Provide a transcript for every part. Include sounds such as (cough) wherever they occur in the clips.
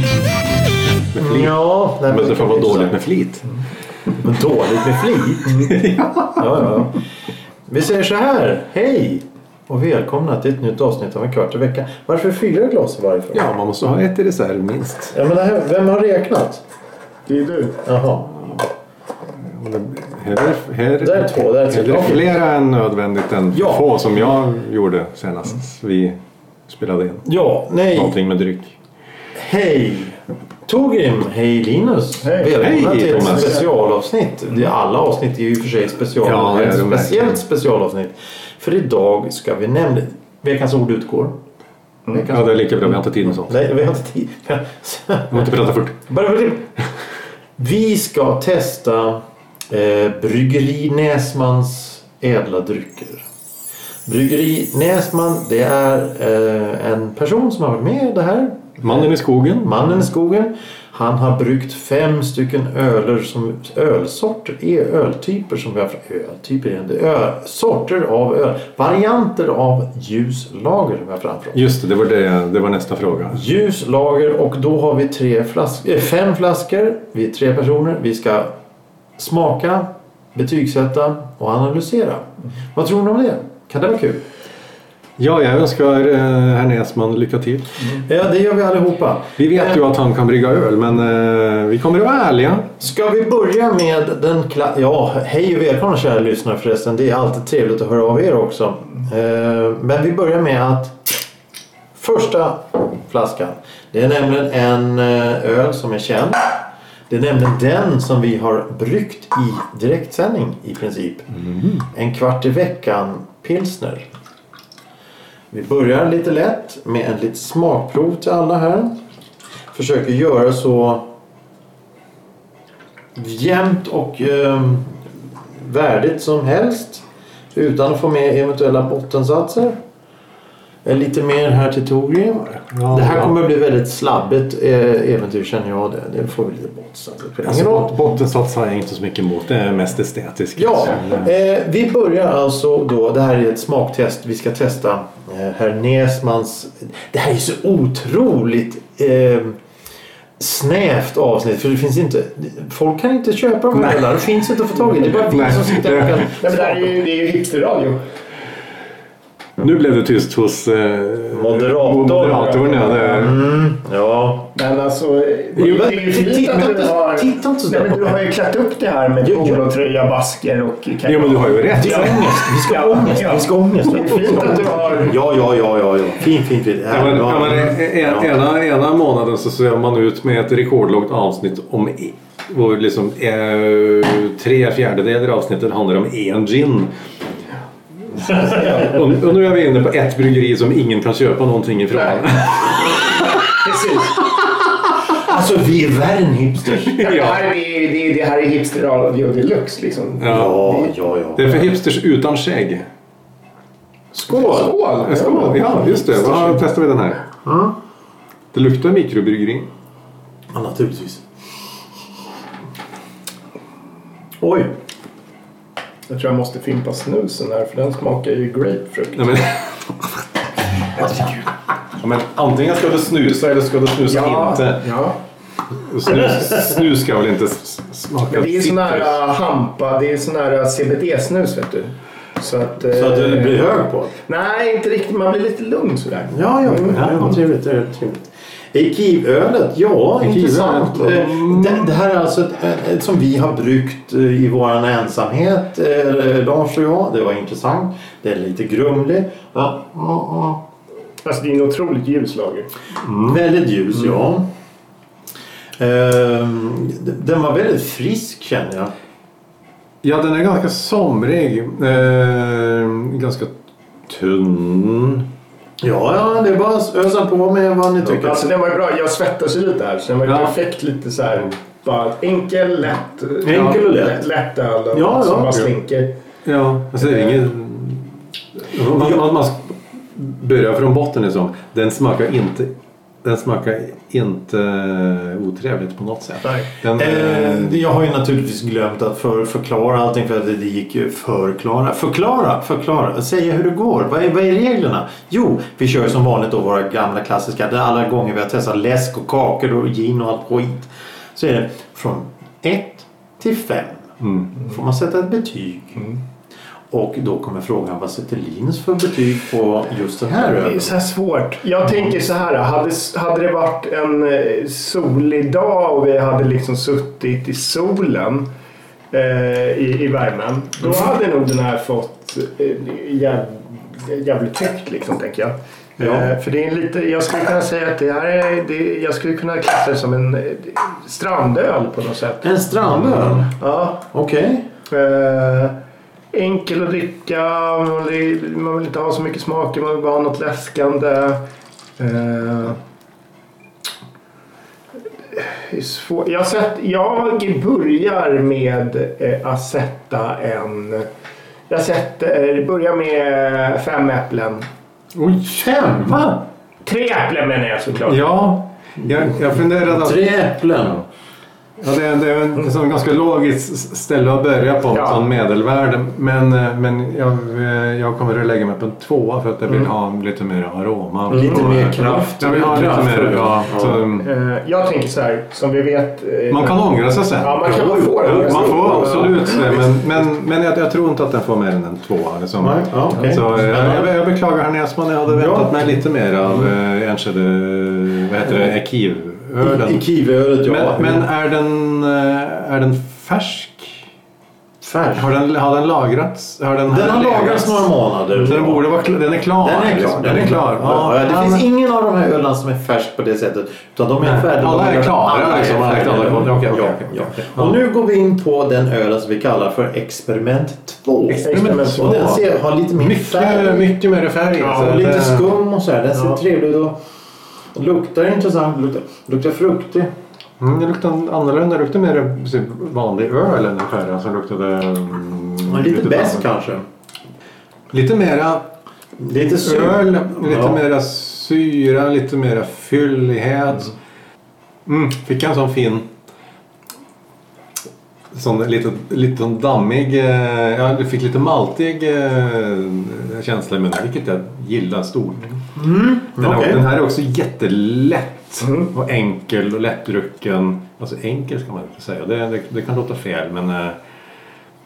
Med flit. Ja, nej, Men det får vara exakt. dåligt med flit. Men dåligt med flit. ja, ja. Vi säger så här. Hej och välkomna till ett nytt avsnitt av En kvart i veckan. Varför fyra glas i varje fråga? Ja, man måste ha ett i reserv minst. Ja, men det här, vem har räknat? Det är du. Jaha. Och det- Här är, här, Där är två, där är två. här är Okej. flera än nödvändigt än Ja. få som jag gjorde senast vi spelade in. Ja, nej. Någonting med dryck. Hej! Torgrim, hej Linus! Hej. Välkomna Hej, till ett Thomas. specialavsnitt. Det är alla avsnitt är ju i och för sig special. Ja, men det är ett de verkligen. speciellt specialavsnitt. För idag ska vi nämligen... Veckans ord utgår. Veckans... Ja, det är lika bra. Vi har inte tid med sånt. Nej, vi har inte tid. (laughs) Vi måste prata fort. Bara för det. Vi ska testa eh, Bryggeri Näsmans ädla drycker. Bryggeri Näsman, det är eh, en person som har varit med i det här Mannen i skogen. Mannen i skogen. Han har bryggt fem stycken öler som ölsorter, är öltyper som vi har öltyper igen, det är ö, sorter av öl, varianter av ljuslager som vi har framför oss. Just det, det var, det, det var nästa fråga. Ljuslager och då har vi tre flask, eh, fem flaskor, vi är tre personer, vi ska smaka, betygsätta och analysera. Vad tror ni om det? Kan det vara kul? Ja, jag önskar eh, herr Näsman lycka till. Ja, det gör vi allihopa. Vi Eh, vet ju att han kan brygga öl, men eh, vi kommer att vara ärliga. Ska vi börja med den kla- Ja, hej och välkomna kära lyssnare förresten. Det är alltid trevligt att höra av er också. Eh, Men vi börjar med att första flaskan. Det är nämligen en eh, öl som är känd. Det är nämligen den som vi har bryggt i direktsändning i princip. En kvart i veckan pilsner. Vi börjar lite lätt med en litet smakprov till alla här. Försöker göra så jämnt och eh, värdigt som helst utan att få med eventuella bottensatser. Eh, Lite mer här till Torgrim. Ja, det här ja. kommer bli väldigt slabbigt eh, äventyr känner jag det. Det får vi lite bottensatser. Det spelar Alltså, ingen roll. bot- bottensats har jag inte så mycket emot. Det är mest estetiskt. Mm. Ja, eh, vi börjar alltså då. Det här är ett smaktest. Vi ska testa eh, herr Näsmans. Det här är så otroligt eh, snävt avsnitt. För det finns inte. Folk kan inte köpa de här Nej. ölarna. Det finns inte att få tag i. Det är bara vi Nej. som sitter och kan Nej, men det, här är ju, det är ju hipsterradio. Nu blev det tyst hos eh, Moderatorn. moderatorn, ja, det är- Mm, Ja, Men alltså... Jo, det är ju men fint titta att du inte- har... titta inte så där Nej, men på du mig. har ju klätt upp det här med Jo, jo. polotröja, basker och... keps. Ja, men du har ju rätt. det är ångest. Vi ska ha Ja, ångest. ja. Vi ska ha ångest. Det är fint att du har... Ja, ja, ja, ja, ja. Fin, fin, fin. Ja, men, ja, men, Ja. eh, en, ena, ena månaden så ser man ut med ett rekordlågt avsnitt om e- och liksom, eh, tre fjärdedelar av avsnittet handlar om en gin. och, och nu är vi inne på ett bryggeri som ingen kan köpa någonting ifrån. Nej. Precis. Alltså, vi är värre än hipsters. Ja. (laughs) Det, ja. här är, det, är- det här är hipsterradio deluxe liksom. Ja. Ja, ja, ja. Det är för hipsters utan skägg. Skål! Skål! Skål! Ja, just det. Då testar vi den här. Det luktar mikrobryggeri. Ja, naturligtvis. Oj! Jag tror jag måste fimpa snusen här för den smakar ju grapefrukt. Ja, men... Ja, men antingen ska du snusa eller ska du snusa inte. ja. Och Snus, snus ska väl inte s- smaka Men det är sån citrus? här äh- hampa, det är sån här äh, CBD-snus vet du. Så att... äh, Så att du blir hög på Mm. Nej, inte riktigt. Man blir lite lugn sådär. Ja, ja. ja vad trevligt. Det är trevligt. Ekivölet, ja Ekivölet, intressant. ja. Eh, Det, det här är alltså ett, ett som vi har bryggt eh, i våran ensamhet, eh, Lars och jag. Det var intressant. Det är lite grumlig. Ja, ja, ja. Alltså det är en otroligt ljuslager. Väldigt ljus, ja. Ehm, d- den var väldigt frisk känner jag. Ja, den är ganska somrig. Eh, ganska tunn. Ja, ja, det är bara att ösa på med vad ni tycker. Alltså den var ju bra. Jag svettas ju lite här så den var ju Ja. perfekt lite så här. Bara enkel, lätt. Enkel och lätt. Lätt, lätt öl och Ja, som ja. bara slinker. Ja, alltså det är ingen... Man, man, man börjar från botten liksom. Den smakar inte Den smakar inte otrevligt på något sätt. Nej. Den, eh, Eh, jag har ju naturligtvis glömt att för, förklara allting för att det gick ju förklara. Förklara, förklara, säga hur det går. Vad är, vad är reglerna? Jo, vi kör ju som vanligt då våra gamla klassiska. Där alla gånger vi har testat läsk och kakor och gin och allt skit. Så är det från 1 till 5. Mm. Får man sätta ett betyg. Och då kommer frågan vad sätter Linus för betyg på just den här Det är ölen? så här svårt. Jag tänker så här. Hade, hade det varit en eh, solig dag och vi hade liksom suttit i solen eh, i, i värmen. Då hade nog den här fått eh, jäv, jävligt högt liksom tänker jag. Ja. Eh, för det är en lite, jag skulle kunna säga att det här är, det, jag skulle kunna klassa det som en eh, strandöl på något sätt. En strandöl? Ja, Okej. Eh, enkel att dricka, man vill, man vill inte ha så mycket smaker, man vill bara ha något läskande. Eh, det är svår- jag, sätt, jag börjar med eh, att sätta en... Jag sätter, börjar med fem äpplen. Oj, femma! Tre äpplen menar jag såklart. Ja, jag, jag funderade att Tre äpplen. ja, det, det är en sån ganska logiskt s- ställe att börja på, Ja. ja. sån medelvärde. Men, eh, men jag, eh, jag kommer att lägga mig på en tvåa för att jag vill ha lite mer aroma. Lite Och, mer eh, kraft. Jag vill ha lite Kraft. mer, ja. Så, Eh, jag tänker så här, som vi vet... eh, man kan ångra sig sen. Ja, man kan man får Jo, det. Man får absolut det, men, men, men jag, jag tror inte att den får mer än en tvåa. Liksom. Nej, ja, okej. Så, eh, jag, jag, jag beklagar Härnäsman, jag hade väntat mig lite mer av eh, Enskede, vad heter det, Mm. I, i Ekivölen. kiwiölet, ja. Men, men är, den, eh, är den färsk? Färsk. Har den, har den lagrats? Har den, Den har lagrats några månader. Så den borde vara klar. Den är klar. Den är klar. liksom. Den är klar. Ja, det men- finns ingen av de här ölarna som är färsk på det sättet. Utan de är färdiga. alla är klara, Alla är liksom. färdiga. Alla är klara. Okej, okej, Ja, okej, ja. okej. Och nu går vi in på den ölen som vi kallar för experiment 2. Experiment Och den två. ser, har lite mer mycket, färg. mycket mer färg. Ja, så och det- lite skum och så här. Den ser Ja. trevlig ut. och- och Luktar intressant. Luktar, luktar fruktig. Mm, det luktar annorlunda. Det luktar mer precis, vanlig öl än den förra som alltså luktade... mm, Och Lite bäst bättre. kanske. Lite mera Lite sur. öl, lite Ja. mera syra, lite mera fyllighet. Mm, fick jag en sån fin... Sån lite, lite sån dammig, eh, ja du fick lite maltig eh, känsla i munnen, vilket jag gillar stort. Den, är- Mm. okej. den här är också jättelätt Mm. och enkel och lättdrucken. Alltså enkel ska man inte säga, det, det, det kan låta fel men... eh,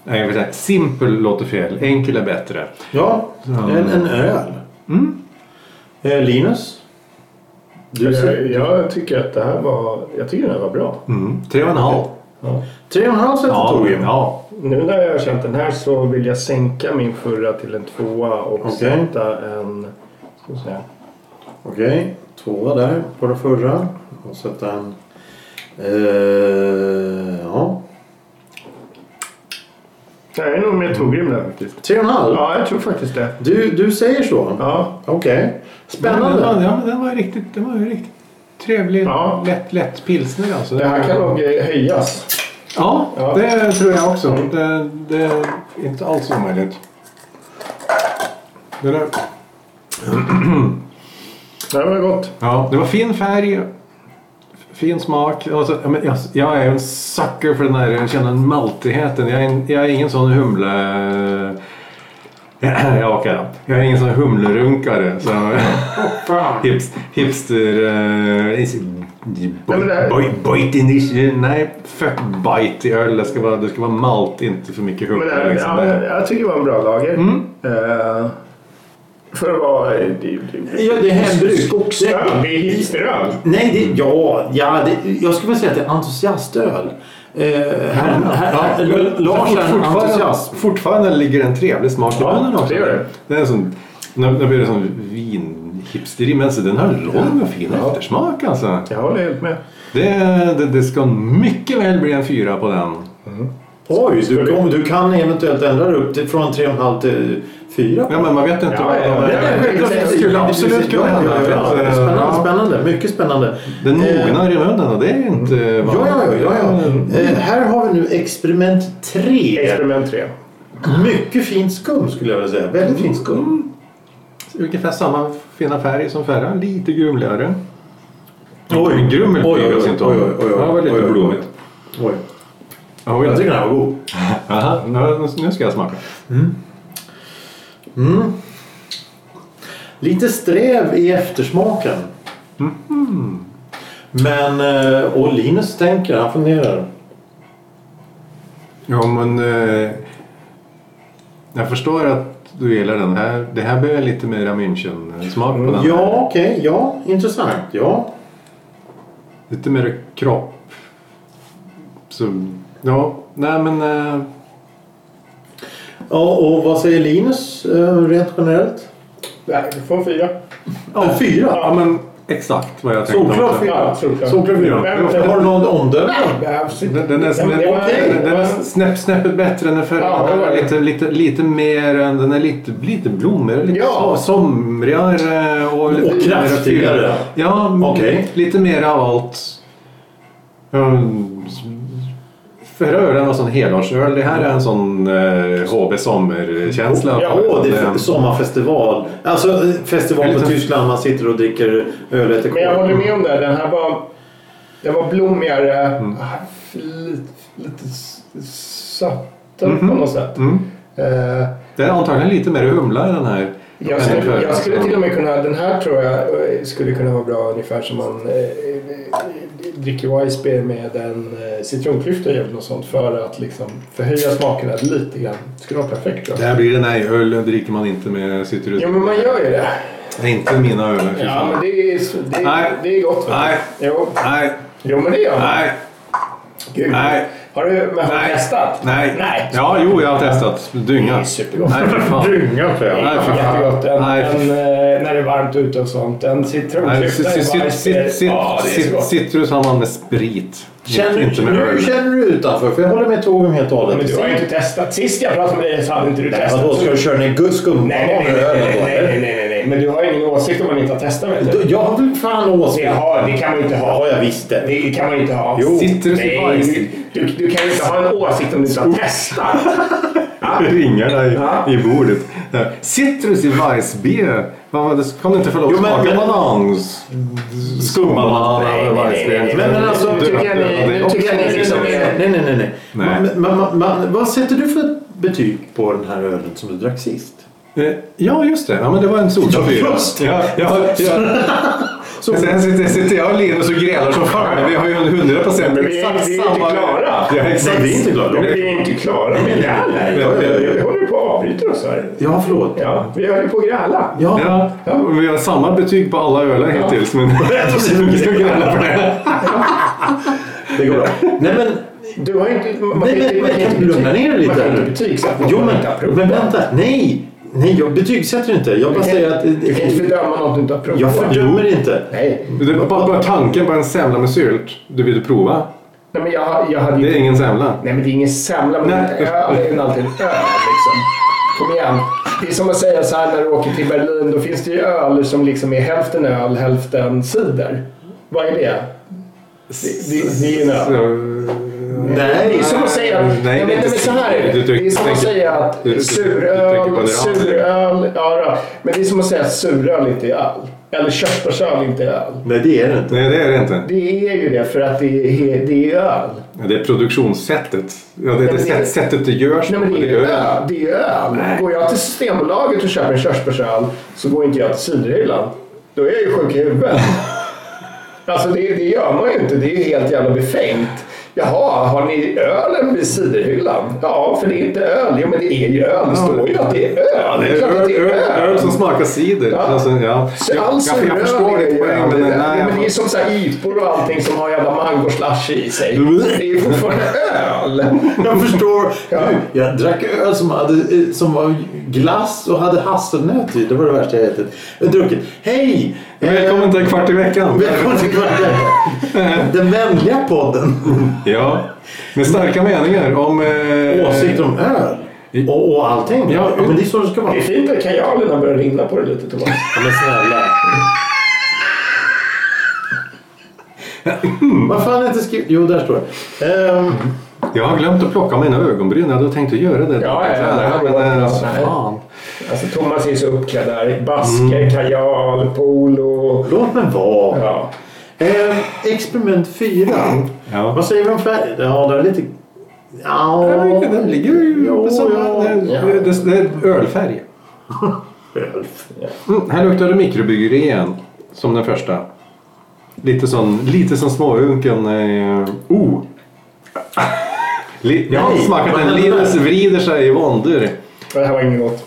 nej, jag vill säga, simpel låter fel, enkel är bättre. Ja, en, en öl. Eh, Linus? Du ser... Mm. Jag, jag tycker att det här var, jag tycker den här var bra. Mm. Tre och en halv. Ja. Tre och en halv sätter Ja, Torgrim. ja. Nu när jag har känt den här så vill jag sänka min förra till en tvåa och Okej. sätta en... Ska vi säga. Okej, tvåa där på den förra. Och sätta en... Eh, ja. Det här är nog med Torgrim där faktiskt. Tre och en halv? Ja, jag tror faktiskt det. Du, du säger så? Ja. Okej. Spännande. Den, den, den var riktigt, den var ju riktigt trevlig. Ja. Lätt, lätt pilsner alltså. Det här kan nog eh, höjas. Ja, Ja. det tror jag också. Det, det är inte alls omöjligt. Det, där. Det här var gott. Ja, det var fin färg. Fin smak. Alltså, ja, men jag, jag är ju en sucker för den här, jag känner den maltigheten. Jag är, en- jag är ingen sån humle... (clears throat) Jag åker då. Jag är ingen sån humlerunkare. Så... (laughs) Hips, hipster... eh, is- Nej, men det här- boy- Bite in this- Nej, fuck bite i öl. Det ska vara, det ska vara malt, inte för mycket Men det humle. här, Liksom. ja, Det- jag tycker det var en bra lager. Eh, för att vara... eh, Det, det, Ja, det händer ju. Öl, det är hipsteröl. Nej, det, ja, ja det, jag skulle vilja säga att det är entusiastöl. Eh, här, här, (laughs) här, Lars är en fortfarande, entusiast. fortfarande ligger en trevlig smak i Ja, munnen också. det gör det. Det är en sån, nu, nu blir det sån vinhipsteri, men så den har lång och fin eftersmak alltså. Jag håller helt med. Det, det, det ska mycket väl bli en fyra på den. Oj, du, om du kan eventuellt ändra det upp till, från 3,5 till 4. Ja, men man vet inte. Ja, vad- ja, ja. vad- Det är självklart. det skulle absolut kunna hända. för att, eh, Spännande, ja. spännande. Mycket spännande. Den Eh, mognar i munnen och det är inte Mm. Ja, ja, ja. ja, ja. Eh, här har vi nu experiment 3. Experiment 3. Mycket fint skum skulle jag vilja säga. Väldigt fint skum. Eh, Ungefär samma fina färg som förra, lite grumligare. Oj, Grummel oj, tycker jag alltså inte om. oj, oj, oj, oj, Det var lite oj, oj. blommigt. Oj. Oj, Jag tycker den här var god. Aha, nu, nu ska jag smaka. Lite sträv i eftersmaken. Men, eh, och Linus tänker, han funderar. Ja, men... Eh, jag förstår att du gillar den här. Det här blir lite mera München-smak på den. Ja, okej, ja, intressant, ja. Lite mer kropp. Så, ja, nej men... Eh, ja. Och vad säger Linus eh, rent generellt? Nej, du får fyra. Ja, fyra. ja, men exakt vad jag tänkte. Solklar också. fyra. Ja, solklar. Solklar fyra. Men- men- Har du något omdöme? Ja, Den, den är, snäpp, det var- den, den är snäpp, snäppet bättre än den förra. Ja, det den var är det. lite, lite, lite mer, än- den är lite, lite blommigare, lite Ja. ja. somrigare och, lite mer kraftigare. fyr. Ja, m- Okej. lite mer av allt. Um, förra ölen var sån helårsöl. Det här är en sån eh, HB sommarkänsla. Ja, åh, det eh, är sommarfestival. Alltså eh, festival på Lite- Tyskland. Man sitter och dricker öl efter Men jag håller korv. med om det. Den här var, den var blommigare, Mm. ah, lite, lite s- sötare på något sätt. Mm. Eh, Det är antagligen lite mer humla i den här. jag, än den skulle, förra. jag skulle till och med kunna, den här tror jag eh, skulle kunna vara bra ungefär som man eh, eh, dricker Weissbier med en eh, citronklyfta eller något sånt för att liksom förhöja smakerna lite grann. Det skulle vara perfekt. Då. Det här blir det. Nej, öl dricker man inte med citrus. Ja men man gör ju det. Det är inte mina öl. fy Ja fan. men det är, s- det Nej. är, det är gott. va? Nej. Jo. Nej, jo men det gör man. nej. Gud. Nej. Har du, men har du Nej. testat? Nej. Nej. Ja, jo, jag har testat. Dynga. Det är supergott. Nej, för (laughs) fan. Dynga, säger jag. Nej, för fan. Jättegott. En, Nej, för- en, eh, när det är varmt ute och sånt. En Nej, citronklyfta cit- i cit- bajs. cit- Ja, cit- det är så cit- gott. Citrus har man med sprit. Känner, inte med nu öl. känner du utanför, för jag håller med Torgrim helt och hållet. Men du har ju inte testat. Sist jag pratade med dig så hade inte du Nej, testat. vadå, ska du köra ner gu- nej, skumbanan nej, nej, över ölen nej, då, nej, nej, eller? nej, nej, nej. Men du har ju ingen åsikt om man inte har testat vet du. Du, Jag har väl fan åsikt. Det, har, det kan man ju inte Ja, ha. jag visste. Det kan man ju inte ha. Jo. Citrus i Nej, bajs. du, du, du kan ju inte ha en åsikt om du inte har testat. Ringar dig Ja. i bordet. Citrus i bajsbier. Vad var det? Kan du inte få lov att Jo, men- smaka men- banan? Skumbanan Nej, eller nej, nej, bajsbier. nej, Men, men alltså, Nu tycker jag ni- Ja, det är nu tycker jag ni också- liksom Nej, är- nej, nej. nej. Nej. Men- men- men- men- vad sätter du för betyg på den här ölen som du drack sist? Eh, Ja, just det. Ja, men det var en solklar Ja, fyra. just det. Ja, ja, (laughs) ja. Så sen sitter, sitter jag och Linus och grälar som fan. men Vi har ju en 100 procent Men vi är- vi är inte klara. Ja, exakt. Nej, vi är inte klara. Det Men blir- Vi är inte klara med det här. ja, ja. Vi håller på att avbryta oss här. Ja, förlåt. Ja, vi höll på att gräla. Ja. Ja, och vi har samma betyg på alla ölar hittills. (laughs) Men (laughs) vi ska gräla för det. Det går bra. Nej, men, Du har ju inte... Man nej, kan men, inte- man kan men inte lugna ner dig lite. Man kan inte här. betygsätta. Jo, något man men, inte har provat. men vänta. Nej, nej, jag betygsätter inte. Jag bara Du kan- säger att... Du kan inte fördöma något du inte har provat. Jag fördömer inte. Nej. Det var bara, bara tanken på en semla med sylt. Du vill prova. Nej, men jag, har- jag hade Det är ju... ingen semla. Nej, men det är ingen semla. Men Nej. en öl är ju alltid en öl liksom. Kom igen. Det är som att säga så här när du åker till Berlin. Då finns det ju öl som liksom är hälften öl, hälften cider. Vad är det? Det, det, det är ju en öl. Nej. Det är som att säga... Nej, det är Nej, men, inte men så här är det. Du tycker- Det är som att tänker- säga att du- du- du tänker på suröl, det suröl, ja, då. Men det är som att säga att suröl inte är öl. Eller köttfärsöl inte är öl. Nej, det är det inte. Nej, det är det inte. Det är ju det för att det är, det är öl. Det är produktionssättet. Ja, det är det men det är- sätt- sättet det görs Nej, på. men det är Det ju gör det. öl. Det är ju öl. Nej. Går jag till Systembolaget och köper en körsbärsöl så går inte jag till ciderhyllan. Då är jag ju sjuk (laughs) i huvudet. alltså det, det gör man ju inte. Det är ju helt jävla befängt. Jaha, har ni ölen vid ciderhyllan? Ja, för det är inte öl. Jo, men det är ju öl. Det står ju att det är öl. Ja, det är klart öl, att öl, öl som smakar cider. Ja. Alltså, ja. Så jag, allt som jag, jag rör förstår är ditt ju poäng, öl. men, Det- nej, ja, men det är jag, som så här IPor och allting som har jävla mangoslash (laughs) i sig. Det är ju fortfarande öl. Jag förstår. Ja. Du, jag drack öl som, hade, eh, som var glass och hade hasselnöt i. Det var det värsta jag ätit. Jag druckit. Hej! Välkommen till Kvart i Eh, veckan. Välkommen till Kvarten. Den vänliga podden. Ja, med starka meningar om... Eh, Åsikter om öl. Och, och allting. Ja, Ja, men det är så det ska vara. Det är fint att kanalerna börjar rinna på det lite Tomas. Ja, men snälla. Vad fan är det skrivet? Jo, där står det. Ehm, Jag har glömt att plocka mina ögonbryn. Jag hade tänkt att göra det. Ja, ja, ja. Nej, men, eh, fan. Alltså Thomas är så uppklädd där. Basker, kajal, polo. låt mig vara. Ja. Ehm, Experiment 4. Ja. Vad säger vi om färg? Ja, det är lite... Ja, Den ligger ju Ja, på samma... ja, ja. Det, det, det är (laughs) ölfärg. Mm, här luktar det mikrobryggeri igen. Som den första. Lite sån, lite som småunken. Eh, oh! Li- Jag har Nej, smakat vad en hände Linus där? vrider sig i våndor. Det här var inget gott.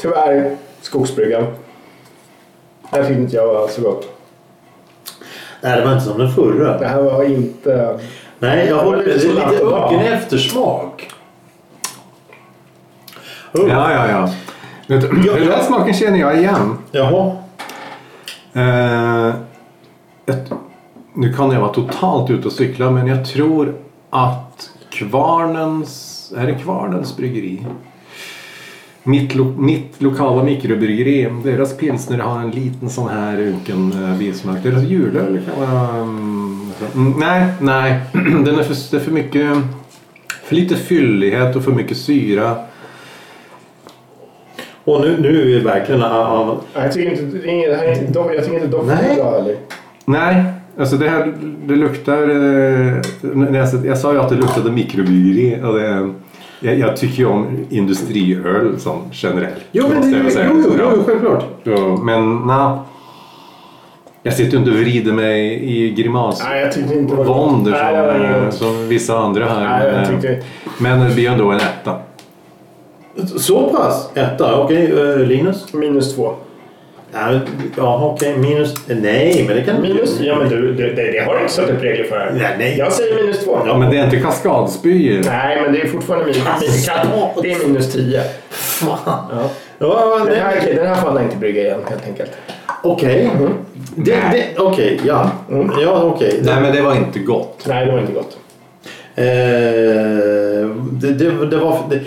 Tyvärr, skogsbryggan. Det här tyckte inte jag var så gott. Nej, det var inte som den Det förra. här var inte... Nej, jag håller det är lite Ja. unken eftersmak. Oh, Ja, ja, ja. Vet du, Ja, Den där ja. smaken känner jag igen. Jaha. Eh, ett, nu kan jag vara totalt ute och cykla men jag tror att Kvarnens, är det Kvarnens bryggeri? Mitt, lo, mitt lokala mikrobryggeri, deras pilsner har en liten sån här unken eh, bismak. Deras julöl kan vara... mm, så- Mm, nej, nej. (clears throat) Den är för, det är för mycket... För lite fyllighet och för mycket syra. Och nu, nu är vi verkligen... ah, ah, Nej, Jag tycker inte, det är inget- det här är inte, doft- jag tycker inte doften Nej. är bra heller. Nej, alltså det här det luktar... eh, när Jag, jag sa ju att det luktade mikrobryggeri. Och det, jag, jag tycker ju om industriöl som generellt. Jo, men måste det, jag jo, väl säga. jo, Ja. jo, självklart. Ja, Men na, Jag sitter ju inte och vrider mig i grimas. Nej, jag tyckte inte det var Vonder som, Nej, det var inget eh, gott. som vissa andra här. Nej, jag Men, eh, tyckte- men det blir ju ändå en etta. Så pass? Etta, okej. eh, Linus? Minus två. Ja, men- ja okej. Minus... Nej, men det kan Minus? Ja, men du, det, det, det har du inte satt upp regler för. här. Nej, nej. Jag säger minus två. Ja, men det är inte kaskadspyor. Nej, men det är fortfarande minus. minus det är minus tio. Fan. Ja. Ja, Den, här, nej. den här får jag inte brygga igen helt enkelt. Okej. Det- det- Okej, ja. Ja, okej. Nej, men det var inte gott. Nej, det var inte gott. Eh, det, det, det var... Det,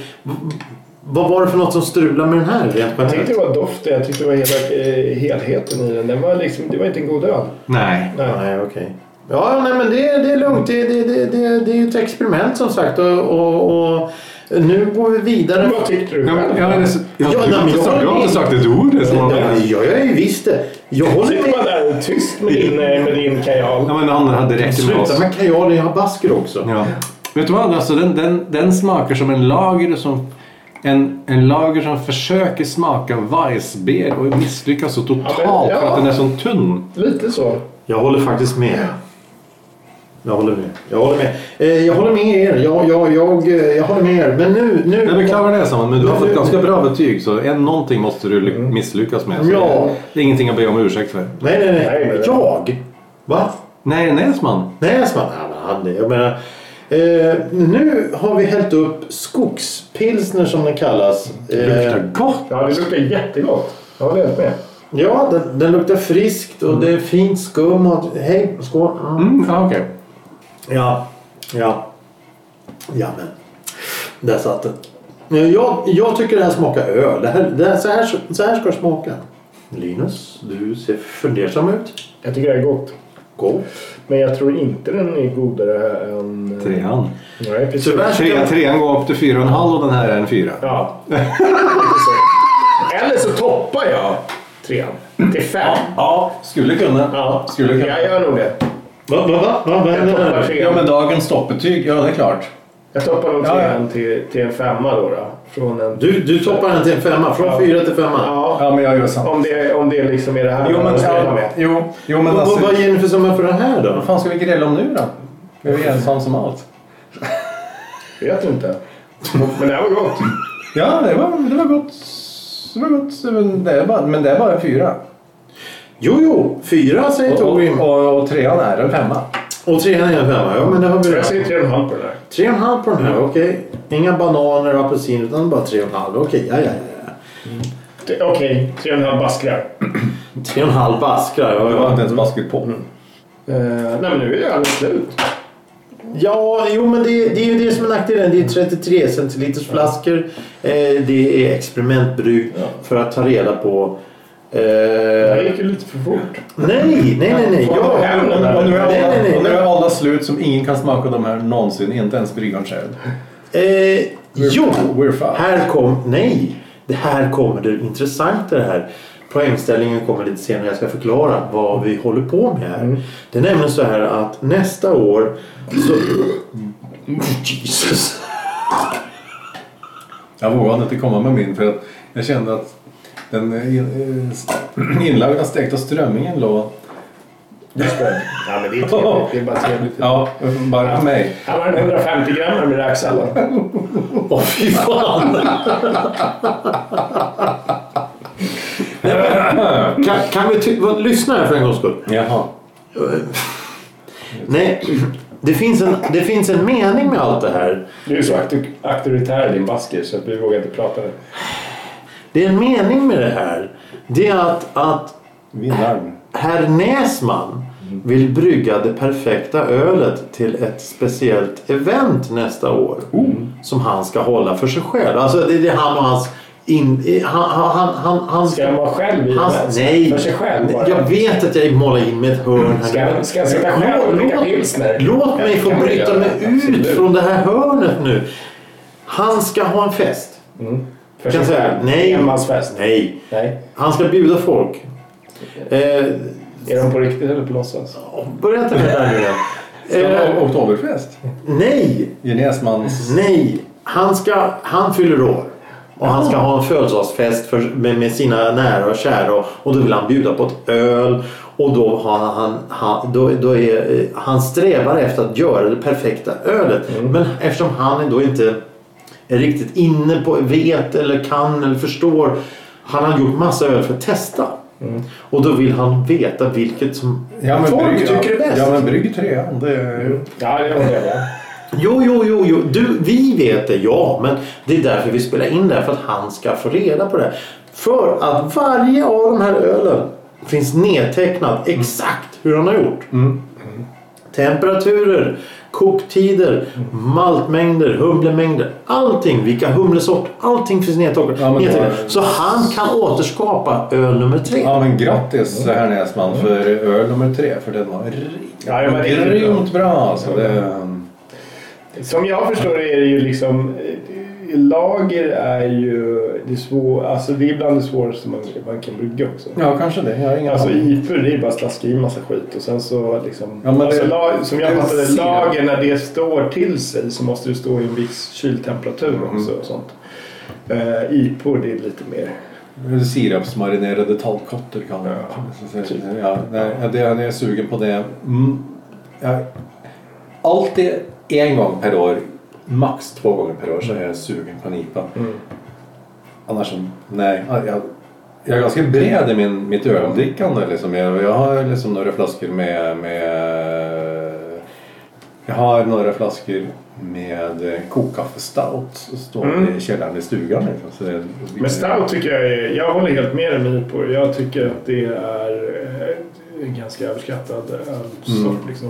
vad var det för något som strulade med den här rent Jag tyckte generellt? det var doften, jag tyckte det var hela, eh, helheten i den. den var liksom, det var inte en god öl. Nej. Nej. Nej, okej. Ja, nej, men det, det är lugnt. Det, det, det, det, det är ju ett experiment som sagt. Och, och, och nu går vi vidare. Vad tyckte du Ja, men, själv? ja, men det, Ja, jag, jag, nej, men jag- jag har inte sagt ett ord. Det är som om- Ja, men jag är ju visst det. Jag håller Sitter med. man där tyst med din, eh, med din kajal? Ja, men han hade rätt med oss. Sluta med kajal i habasker också. Ja. Vet du vad? Alltså, den, den, den smakar som en lager som en, en lager som försöker smaka weissbier och misslyckas så totalt Ja, men, ja. för att den är så tunn. Lite så. Jag håller faktiskt med. Jag håller med. Jag håller med, eh, jag håller med er. Jag, jag, jag, eh, jag håller med er. Men nu... nu Jag beklagar det Saman, men du har fått ganska bra betyg så en, någonting måste du ly- misslyckas med. Så Ja. det- Det är ingenting att be om ursäkt för. Nej, nej, nej. Nej, nej. Jag? Va? Nej, Näsman. Nej, som han nej, men han- Jag menar... Eh, nu har vi hällt upp skogspilsner som den kallas. Det Eh, luktar gott! Ja, det luktar jättegott. Jag håller helt med. ja, den, den luktar friskt och det är fint skum. Och, hej, skål. Mm. Mm, ja, okej. Ja, ja. Ja, men. Där satt den. Eh, Jag, jag tycker det här smakar öl. Det här, det här, så, här, så här ska det smaka. Linus, du ser fundersam ut. Jag tycker det är gott. Gott. Men jag tror inte den är godare än... eh, Trean. Nej, precis. Tyvärr. Tre, trean går upp till fyra och en halv och den här är en fyra. Ja. Lite så. Eller så toppar jag trean till fem. Ja, skulle kunna. Ja, skulle kunna. jag gör nog det. Va, va, va? va, va, Jag va, va, toppar Ja, men trean. dagens toppbetyg, ja det är klart. Jag toppar nog Ja, ja. trean till, till en femma då. då. Från en... Du, du toppar den till en femma. Från Ja. fyra till femma. Ja, Ja, men jag gör samma. om det, om det liksom är det här Jo men, man spelar ja, med. jo, jo, men Vad- alltså... vad ger ni för summa för det här då? Vad fan ska vi gräla om nu då? Vi är ju ensamma som allt. Vet inte. Men det här var gott. Ja, det var, det var gott. Det var gott. Men det är bara, men det är bara en fyra. Jo, jo. Fyra säger Och, Torgrim. och, och, och trean är en femma. Och trean är en femma. Ja, men det har vi Jag redan. säger tre och en halv på den här. Tre och en halv på den här. Okej. Inga bananer och apelsiner utan bara tre och en halv. Okej, ja, ja, ja, ja. Det- Okej, tre och en halv baskrar. Tre och en halv baskrar. Ja, Det ja. var inte ens basket på. Eh, nej men nu är ölen slut. Ja, jo men det, det är ju det som är nackdelen. Det är 33 centiliters flaskor. Eh, det är experimentbruk för att ta reda på... Eh, Det här nej, gick ju lite för fort. nej, nej, nej. Fan, Ja, vad händer där? Och nu är Nej, nej, alla, nej. och nu är alla slut som ingen kan smaka de här någonsin. Inte ens bryggaren själv. eh, jo, we're fine. här kom... Nej, det här kommer det intressanta det här. Poängställningen kommer lite senare. Jag ska förklara vad vi håller på med Mm. här. Det är nämligen så här att nästa år så... Jesus. Jag vågade inte komma med min för att jag kände att den eh, in- eh, inlagda stekta strömmingen låg... Just det. Ja, men det är trevligt. (laughs) Det är bara trevligt. Ja, bara för mig. Han har en 150 gram med räksallad. Åh fy fan. Nej, men, kan, kan vi ty- vad- lyssna här för en gångs skull? Jaha. Nej, det finns, en, det finns en mening med allt det här. Du är så auktor- auktoritär din basker så att vi vågar inte prata nu. Det är en mening med det här. Det är att, att Vinnaren. herr Näsman vill brygga det perfekta ölet till ett speciellt event nästa år. Som han ska hålla för sig själv. Alltså det är det han och hans... In, eh, han, han, han, han, han, Ska han vara själv i hans- den? nej, För sig själv bara? jag vet att jag målar in mig i ett hörn här. Ska han, ska han sitta själv och dricka pilsner? Låt mig få Kan man bryta göra. mig ut Absolut. från det här hörnet nu. Han ska ha en fest. För Kan sig säga, själv. nej. Enmansfest. Nej. Nej. Han ska bjuda folk. Eh, Är de på riktigt eller på låtsas? börja inte med det här nu igen. Ska det eh, vara Oktoberfest? Nej, I Näsmans... nej. Han, ska, han fyller år. Och han ska ha en födelsedagsfest för, med, med sina nära och kära. Och, och då vill han bjuda på ett öl. Och då, har han, han, då, då är, eh, han strävar efter att göra det perfekta ölet. Mm. Men eftersom han då inte är riktigt inne på, vet eller kan eller förstår. Han har gjort massa öl för att testa. Mm. Och då vill han veta vilket som folk brygg- tycker är bäst. Ja, men brygg trean. Det är... Ja, det var det. va? Jo, jo, jo, jo. Du, vi vet det, ja. Men det är därför vi spelar in det här. För att han ska få reda på det. För att varje av de här ölen finns nedtecknat exakt hur han har gjort. Mm. Temperaturer, koktider, Mm. maltmängder, humlemängder. Allting, vilka humlesort, allting finns nedtecknat. Ja, men det- nedtecknat. Så han kan återskapa öl nummer tre. Ja men grattis herr Näsman för öl nummer tre för den var riktigt Ja, den var riktigt grymt bra alltså. Det, Som jag förstår det är det ju liksom eh, lager är ju det, svår, alltså det är bland det svåraste man, man kan brygga också. ja kanske det. Jag har ingen Alltså aning. IPor det är bara att slaska i massa skit och sen så liksom... Ja, men alltså, det- la, som det jag fattade ser jag. lager när det står till sig så måste det stå i en viss kyltemperatur också och sånt. Uh, IPor det är lite mer... Sirapsmarinerade tallkotter kan man ja. ja, nej, ja, det Jag är sugen på det. Mm. Ja, alltid en gång per år, max två gånger per år så är jag sugen på en IPA. Annars, så- nej. ja, Jag, jag är ganska bred i min, mitt öldrickande. Liksom. Jag, jag har liksom några flaskor med, med... Jag har några flaskor med eh, kokkaffestout. som Står i källaren i stugan. Liksom. Så det, Men Mm. stout tycker jag är, Jag håller helt med dig med IPor. Jag tycker att det är eh, en ganska överskattad Mm. ölsort liksom.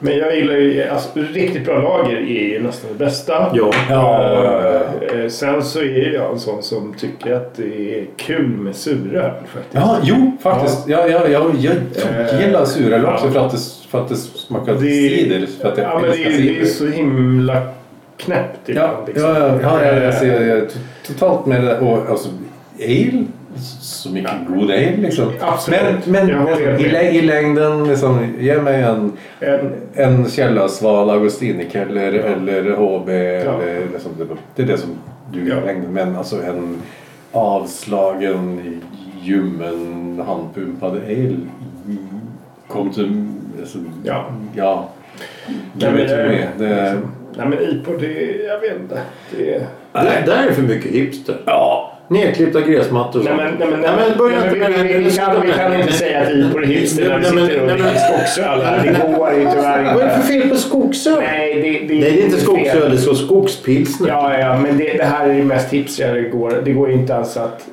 Men jag gillar ju... Alltså, riktigt bra lager är ju nästan det bästa. Ja. Eh, Sen så är jag en sån som tycker att det är kul med suröl faktiskt. Ja, jo faktiskt. Ja. Jag, jag, jag, jag gillar suröl också Eh, Ja. för, att det, för att det smakar Det är- cider. För att jag ja, men det, älskar är, det cider. är så himla knäppt liksom. Ja, ja, ja, ja, ja, jag ser jag är t- totalt med det. Och alltså, ale. Så mycket god ale liksom. Absolut. Men, men Jag håller helt i, med. lä- i längden, liksom, ge mig en, Eh, En- en Källasval Augustinik eller, eller HB. Eller, liksom, det, det är det som du Ja. i längden. Men alltså en avslagen, ljummen, handpumpad ale. Kom till... Alltså, Ja. ja. Ja, Du men eh, liksom. vet hur jag- det är. Det, Nej men IPO, det, jag vet inte. Det, är- Det där är för mycket hipster. ja. Nedklippta gräsmattor och nej sånt. men, nej, men, Nej, men börja nej, inte men med vi, det. vi, vi, kan, vi kan inte säga att IPO är hipster när vi Nej, men- sitter och nej, men- dricker skogsöl här. Det går ju tyvärr Vad är det för inte. fel på skogsöl? Nej, det, det, Nej, det är inte fel. skogsöl, det är så skogspilsner. Ja, ja, men det, det här är det mest tipsiga det går. Det går ju inte ens att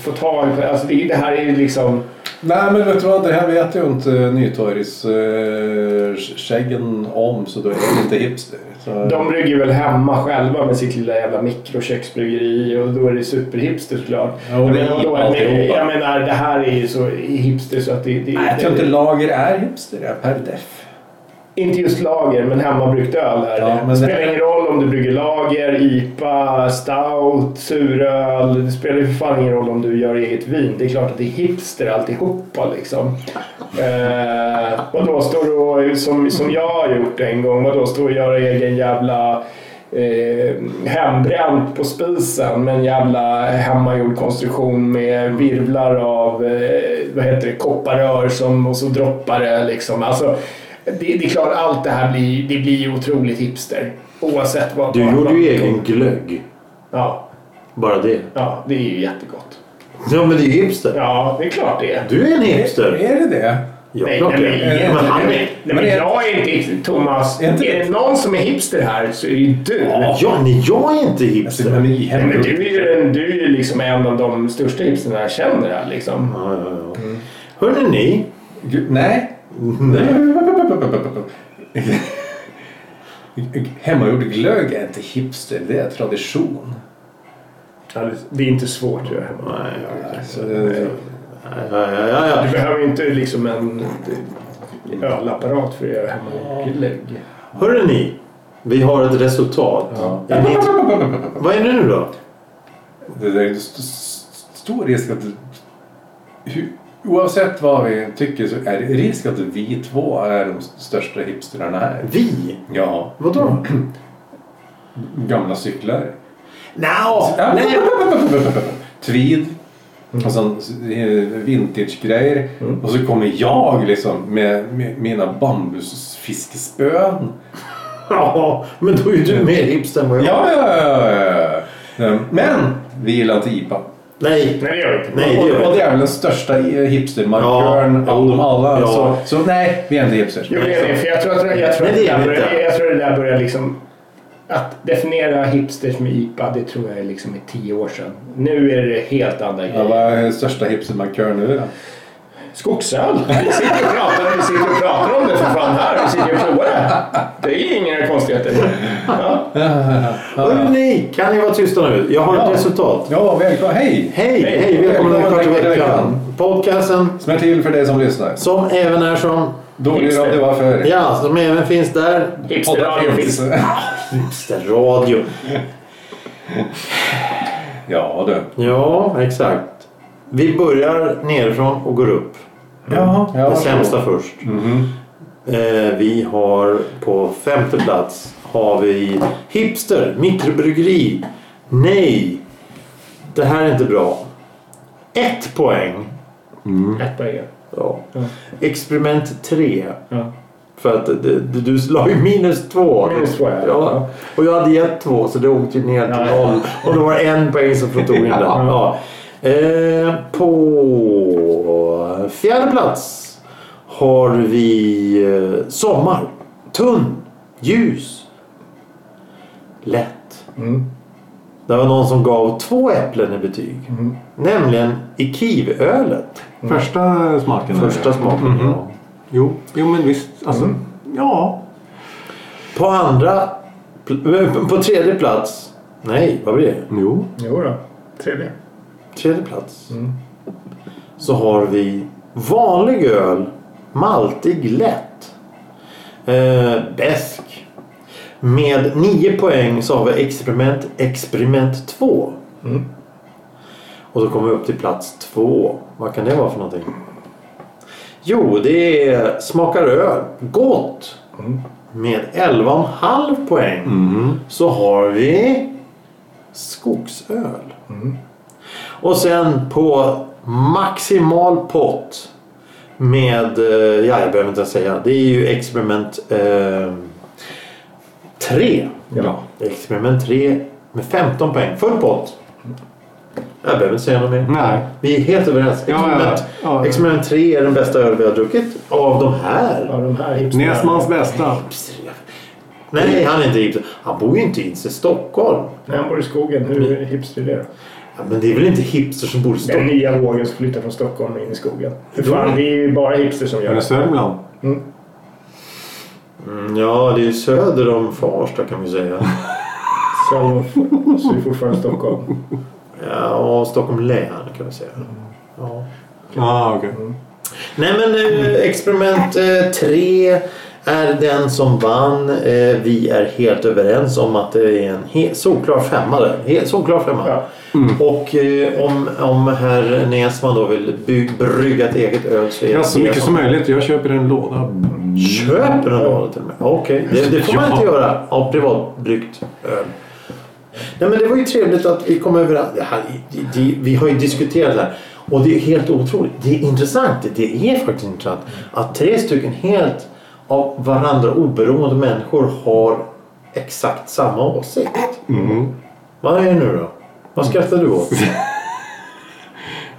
få tag på. Alltså det, det här är ju liksom... Nej men vet du vad, det här vet ju inte eh, Nytorgsskäggen om så då är det inte hipster. Så, De brygger väl hemma själva med sitt lilla jävla mikroköksbryggeri och då är det superhipster såklart. Ja, och det är jag, menar, men, alltihopa. jag menar, det här är ju så hipster så att det... det Nej, jag tror inte lager är hipster, det är per def. Inte just lager, men hemmabryggt öl är Ja, det. men det det- spelar ingen roll om du brygger lager, IPA, stout, suröl. Det spelar ju för fan ingen roll om du gör eget vin. Det är klart att det är hipster alltihopa liksom. Eh, och då står du och, som, som jag har gjort en gång, och då står och gör egen jävla eh, hembränt på spisen med en jävla hemmagjord konstruktion med virvlar av eh, vad heter det, kopparrör som, och så droppar det liksom. Alltså, det, det är klart, allt det här blir, det blir ju otroligt hipster. Oavsett vad... Du vad- gjorde vad- ju egen glögg. Ja, Bara det. ja, det är ju jättegott. Ja, men det är ju hipster. Ja, det är klart det är. Du är en Är hipster. är det det? Ja, Nej, klart nej, det. Men men, nej, han är... nej, nej, men jag är inte hipster. Thomas, Är är, inte- det någon som är hipster här så är det ju du. Ja, nej, jag är inte Alltså, men hipster. i Nej, men helvete. du är ju, en, du är ju liksom en av de största hipsterna jag känner här liksom. Ja, ja, ja. Hörrni ni. Gud, Nej. (laughs) Hemmagjord glögg är inte hipster, det är tradition. Ja, det- Det är inte svårt att göra hemma. Nej, ja, Alltså, det- ja, ja, ja, ja. Du behöver ju inte liksom en en ölapparat för att göra hemmaglögg. Hörrni ni. Vi har ett resultat. Är ni... Vad är det nu då? Det där är en st- st- stor risk att... Hur, oavsett vad vi tycker så är det risk att vi två är de största hipstrarna här. Vi? Ja, Vadå? Mm. gamla cyklar. Nja! Nej. Tweed. Och sen eh, vintage-grejer. Och så kommer jag liksom med, med mina bambusfiskespön. Ja, men då är ju du mer hipster än vad jag är. Ja, ja, ja, ja, ja. Men vi gillar inte IPA. Nej. Nej, det gör vi inte. Nej, det gör Och, jag och det inte. är väl den största hipstermarkören Ja. av dem alla. Ja. Så, så nej, vi är inte hipsters. Jo, det är det. För jag tror att jag tror att Nej, det det är där vi börjar- inte. jag tror att det där börjar liksom... Att definiera hipsters med IPA, det tror jag är liksom är tio år sedan. Nu är det helt andra Ja, grejer. vad är den största hipstermarkören nu då? Skogsöl! Vi sitter och pratar, vi sitter och pratar om det för fan här. Vi sitter och provar det. Det är inga konstigheter. Ja. Hörrni ni. Kan ni vara tysta nu? Jag har ett Ja. resultat. Ja, välkommen. Hej! Hej, Hej. hej, välkomna till Välkomna Kvart i till veckan. veckan. Podcasten Smäll till för dig som lyssnar. som även är som... Dålig Hipster. radio var förr. Ja, som även finns där. Hipsterradio finns. Hipsterradio. (laughs) Ja, du. Ja, exakt. Vi börjar nerifrån och går upp. Mm. Ja, ja, Det sämsta först. Eh, vi har på femte plats har vi Hipster, mikrobryggeri. Nej, det här är inte bra. Ett poäng. Ett poäng. Ja. Experiment 3. Ja. För att det, det, du la ju minus två. Minus två, ja. ja. Och jag hade gett två så det åkte ju ner till Ja. noll. Och det var en poäng som tog in den. Ja. Eh, på fjärde plats har vi eh, Sommar. Tunn. Ljus. Lätt. Det var någon som gav två äpplen i betyg. Nämligen i Kivölet. Första smaken. Första smaken. ja. Jo, jo, men visst. Alltså, ja. På andra... pl- eh, På tredje plats... Nej, vad blir det? Jo. Jo då. Tredje. Tredje plats. Så har vi vanlig öl, maltig lätt. Eh, bäsk. Med 9 poäng så har vi experiment, experiment 2. Och så kommer vi upp till plats 2. Vad kan det vara för någonting? Jo, det är smakar öl. Gott! Med 11,5 poäng så har vi skogsöl. Och sen på maximal pott med, eh, ja jag behöver inte ens säga, det är ju experiment eh, 3. Ja. Experiment 3 med 15 poäng, full pott. Jag behöver inte säga något mer. Nej. Vi är helt överens. Ja, ja, ja. Experiment, Ja. experiment 3 är den bästa öl vi har druckit av de Ja, här. de här hipsterna. Näsmans bästa. Nej, han är inte hipster. Han bor ju inte ens i Stockholm. När han bor i skogen, hur hipster är det då? Ja, men det är väl inte hipster som bor i Mm. Den Stockholm? nya vågen som flyttar från Stockholm in i skogen. För fan, det är ju bara hipster som gör Är det det. Sörmland? Mm, Ja, det är söder om Farsta kan vi säga. Så, så är det fortfarande Stockholm. Ja, och Stockholm län kan vi säga. Mm. Ja. Ja, ah, okej. Nej men eh, experiment 3 eh, är den som vann. Eh, vi är helt överens om att det är en he- solklar femma där. He- solklar femma. Ja. Och eh, om, om herr Näsman då vill by- brygga ett eget öl så är det Ja, så det mycket som möjligt. Jag köper en låda. Köper en låda till och med? Okej, det, det får man Ja. inte göra av privatbryggt öl. Nej men det var ju trevligt att vi kom överens. Det här, det, det, vi har ju diskuterat det här. Och det är helt otroligt. Det är intressant. Det är faktiskt intressant. Att tre stycken helt av varandra oberoende människor har exakt samma åsikt. Mm. Vad är det nu då? Vad skrattar du åt?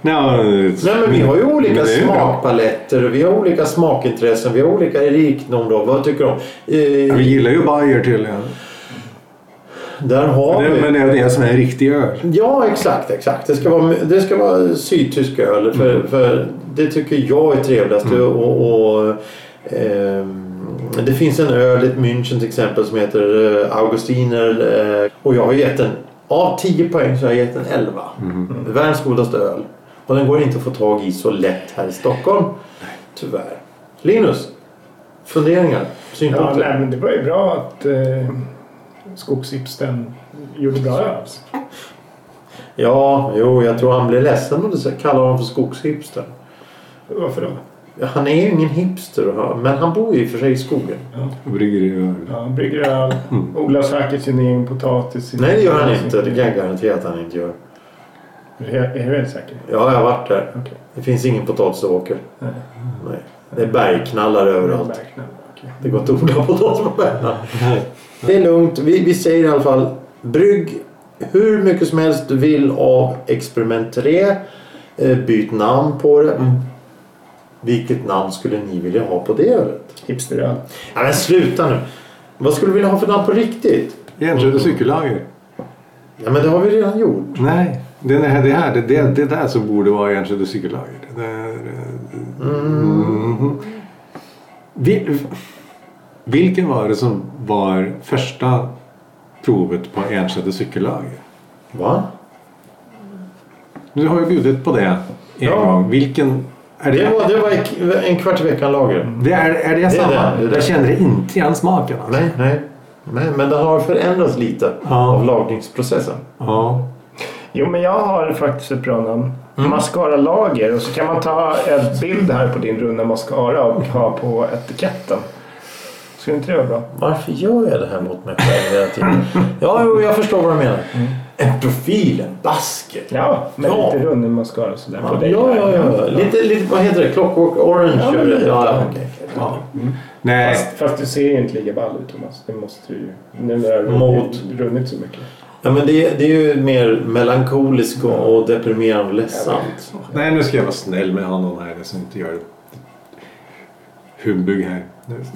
Ja, Nej, men vi har ju olika Men det är ju bra. smakpaletter, vi har olika smakintressen, vi har olika rikedom. Då. Vad tycker du om? Eh, Vi gillar ju Bayer tydligen. Där har Det, vi... men det är det som är en riktig öl. Ja, exakt. exakt. Det, ska vara, det ska vara sydtysk öl. För, Mm. för det tycker jag är trevligast. Och, och, ehm, det finns en öl i München till exempel som heter eh, Augustiner. eh, Och jag har gett den, av 10 poäng så har jag gett den 11. Mm. Världens godaste öl. Och den går inte att få tag i så lätt här i Stockholm. Tyvärr. Linus, funderingar? Ja, Synpunkter? nej, men det var ju bra att eh, skogshipsten gjorde bra öl. ja, jo, jag tror han blir ledsen om du kallar honom för skogshipster. Varför då? Han är ju ingen hipster, ha- men han bor ju i och för sig i skogen. Bryggeriöl. Ja, han brygger öl, odlar säkert sin egen potatis. Sin Mm. Nej, det gör han sin- inte. Det kan jag garantera att han inte gör. Är du- Är du helt säker? Ja, jag har varit där. Okej. Det finns ingen potatisåker. Nej. Nej. Det är bergknallar överallt. Okej. Det går inte att odla potatis på bergen. Det är lugnt. Vi, vi säger i alla fall brygg hur mycket som helst du vill av experiment 3. Eh, Byt namn på det. Vilket namn skulle ni vilja ha på det ölet? Hipsteröl. Ja, men sluta nu. Vad skulle du vilja ha för namn på riktigt? Enskede cykellager. Ja, men det har vi redan gjort. Nej, det här, det, här, det, det, det där som borde vara Enskede cykellager. Det, där, Mm. eh, mhm. Vi, vilken var det som var första provet på Enskede cykellager? Va? Du har ju bjudit på det en Ja. gång. Vilken... Är det, Det var, det var en- en kvart i veckan lager. det är, är det, samma? det, det är det. Jag kände inte igen smaken. alltså. Nej, nej. nej men den har förändrats lite Ja. av lagringsprocessen. Ja. Jo, men jag har faktiskt ett bra namn. Mm. Mascara Lager. Och så kan man ta en bild här på din runda mascara och ha på etiketten. Skulle inte det vara bra? Varför gör jag det här mot mig själv hela (laughs) tiden? Ja, jo, jag förstår vad du menar. En profil, en basker. Ja, med Ja. lite rund mascara sådär på Ja, dig. ja, ja, ja. Lite, lite, vad heter det? Clockwork Orange? Ja, Ja, men lite. ja, okej. ja. Nej. Fast, fast du ser ju inte lika ball ut Thomas. Det måste du ju. Nu när det har Mod. runnit så mycket. ja men det, det är ju mer melankoliskt och och deprimerande och ledsamt. Nej, nu ska jag vara snäll med honom här så inte gör humbug här.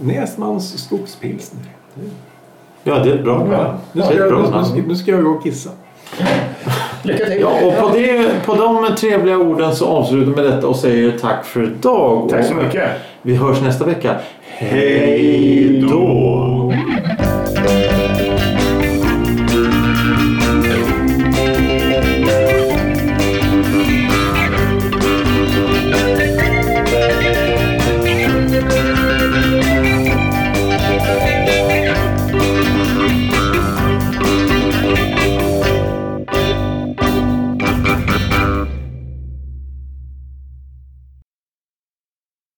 Näsmans skogspilsner. Ja, det är ett bra namn. Det Nu är ska, ett bra jag, nu, namn. ska, nu ska jag gå och kissa. Lycka till! Ja, och på, det, på de trevliga orden så avslutar vi med detta och säger tack för idag. Tack så Och mycket! Vi hörs nästa vecka. Hej då!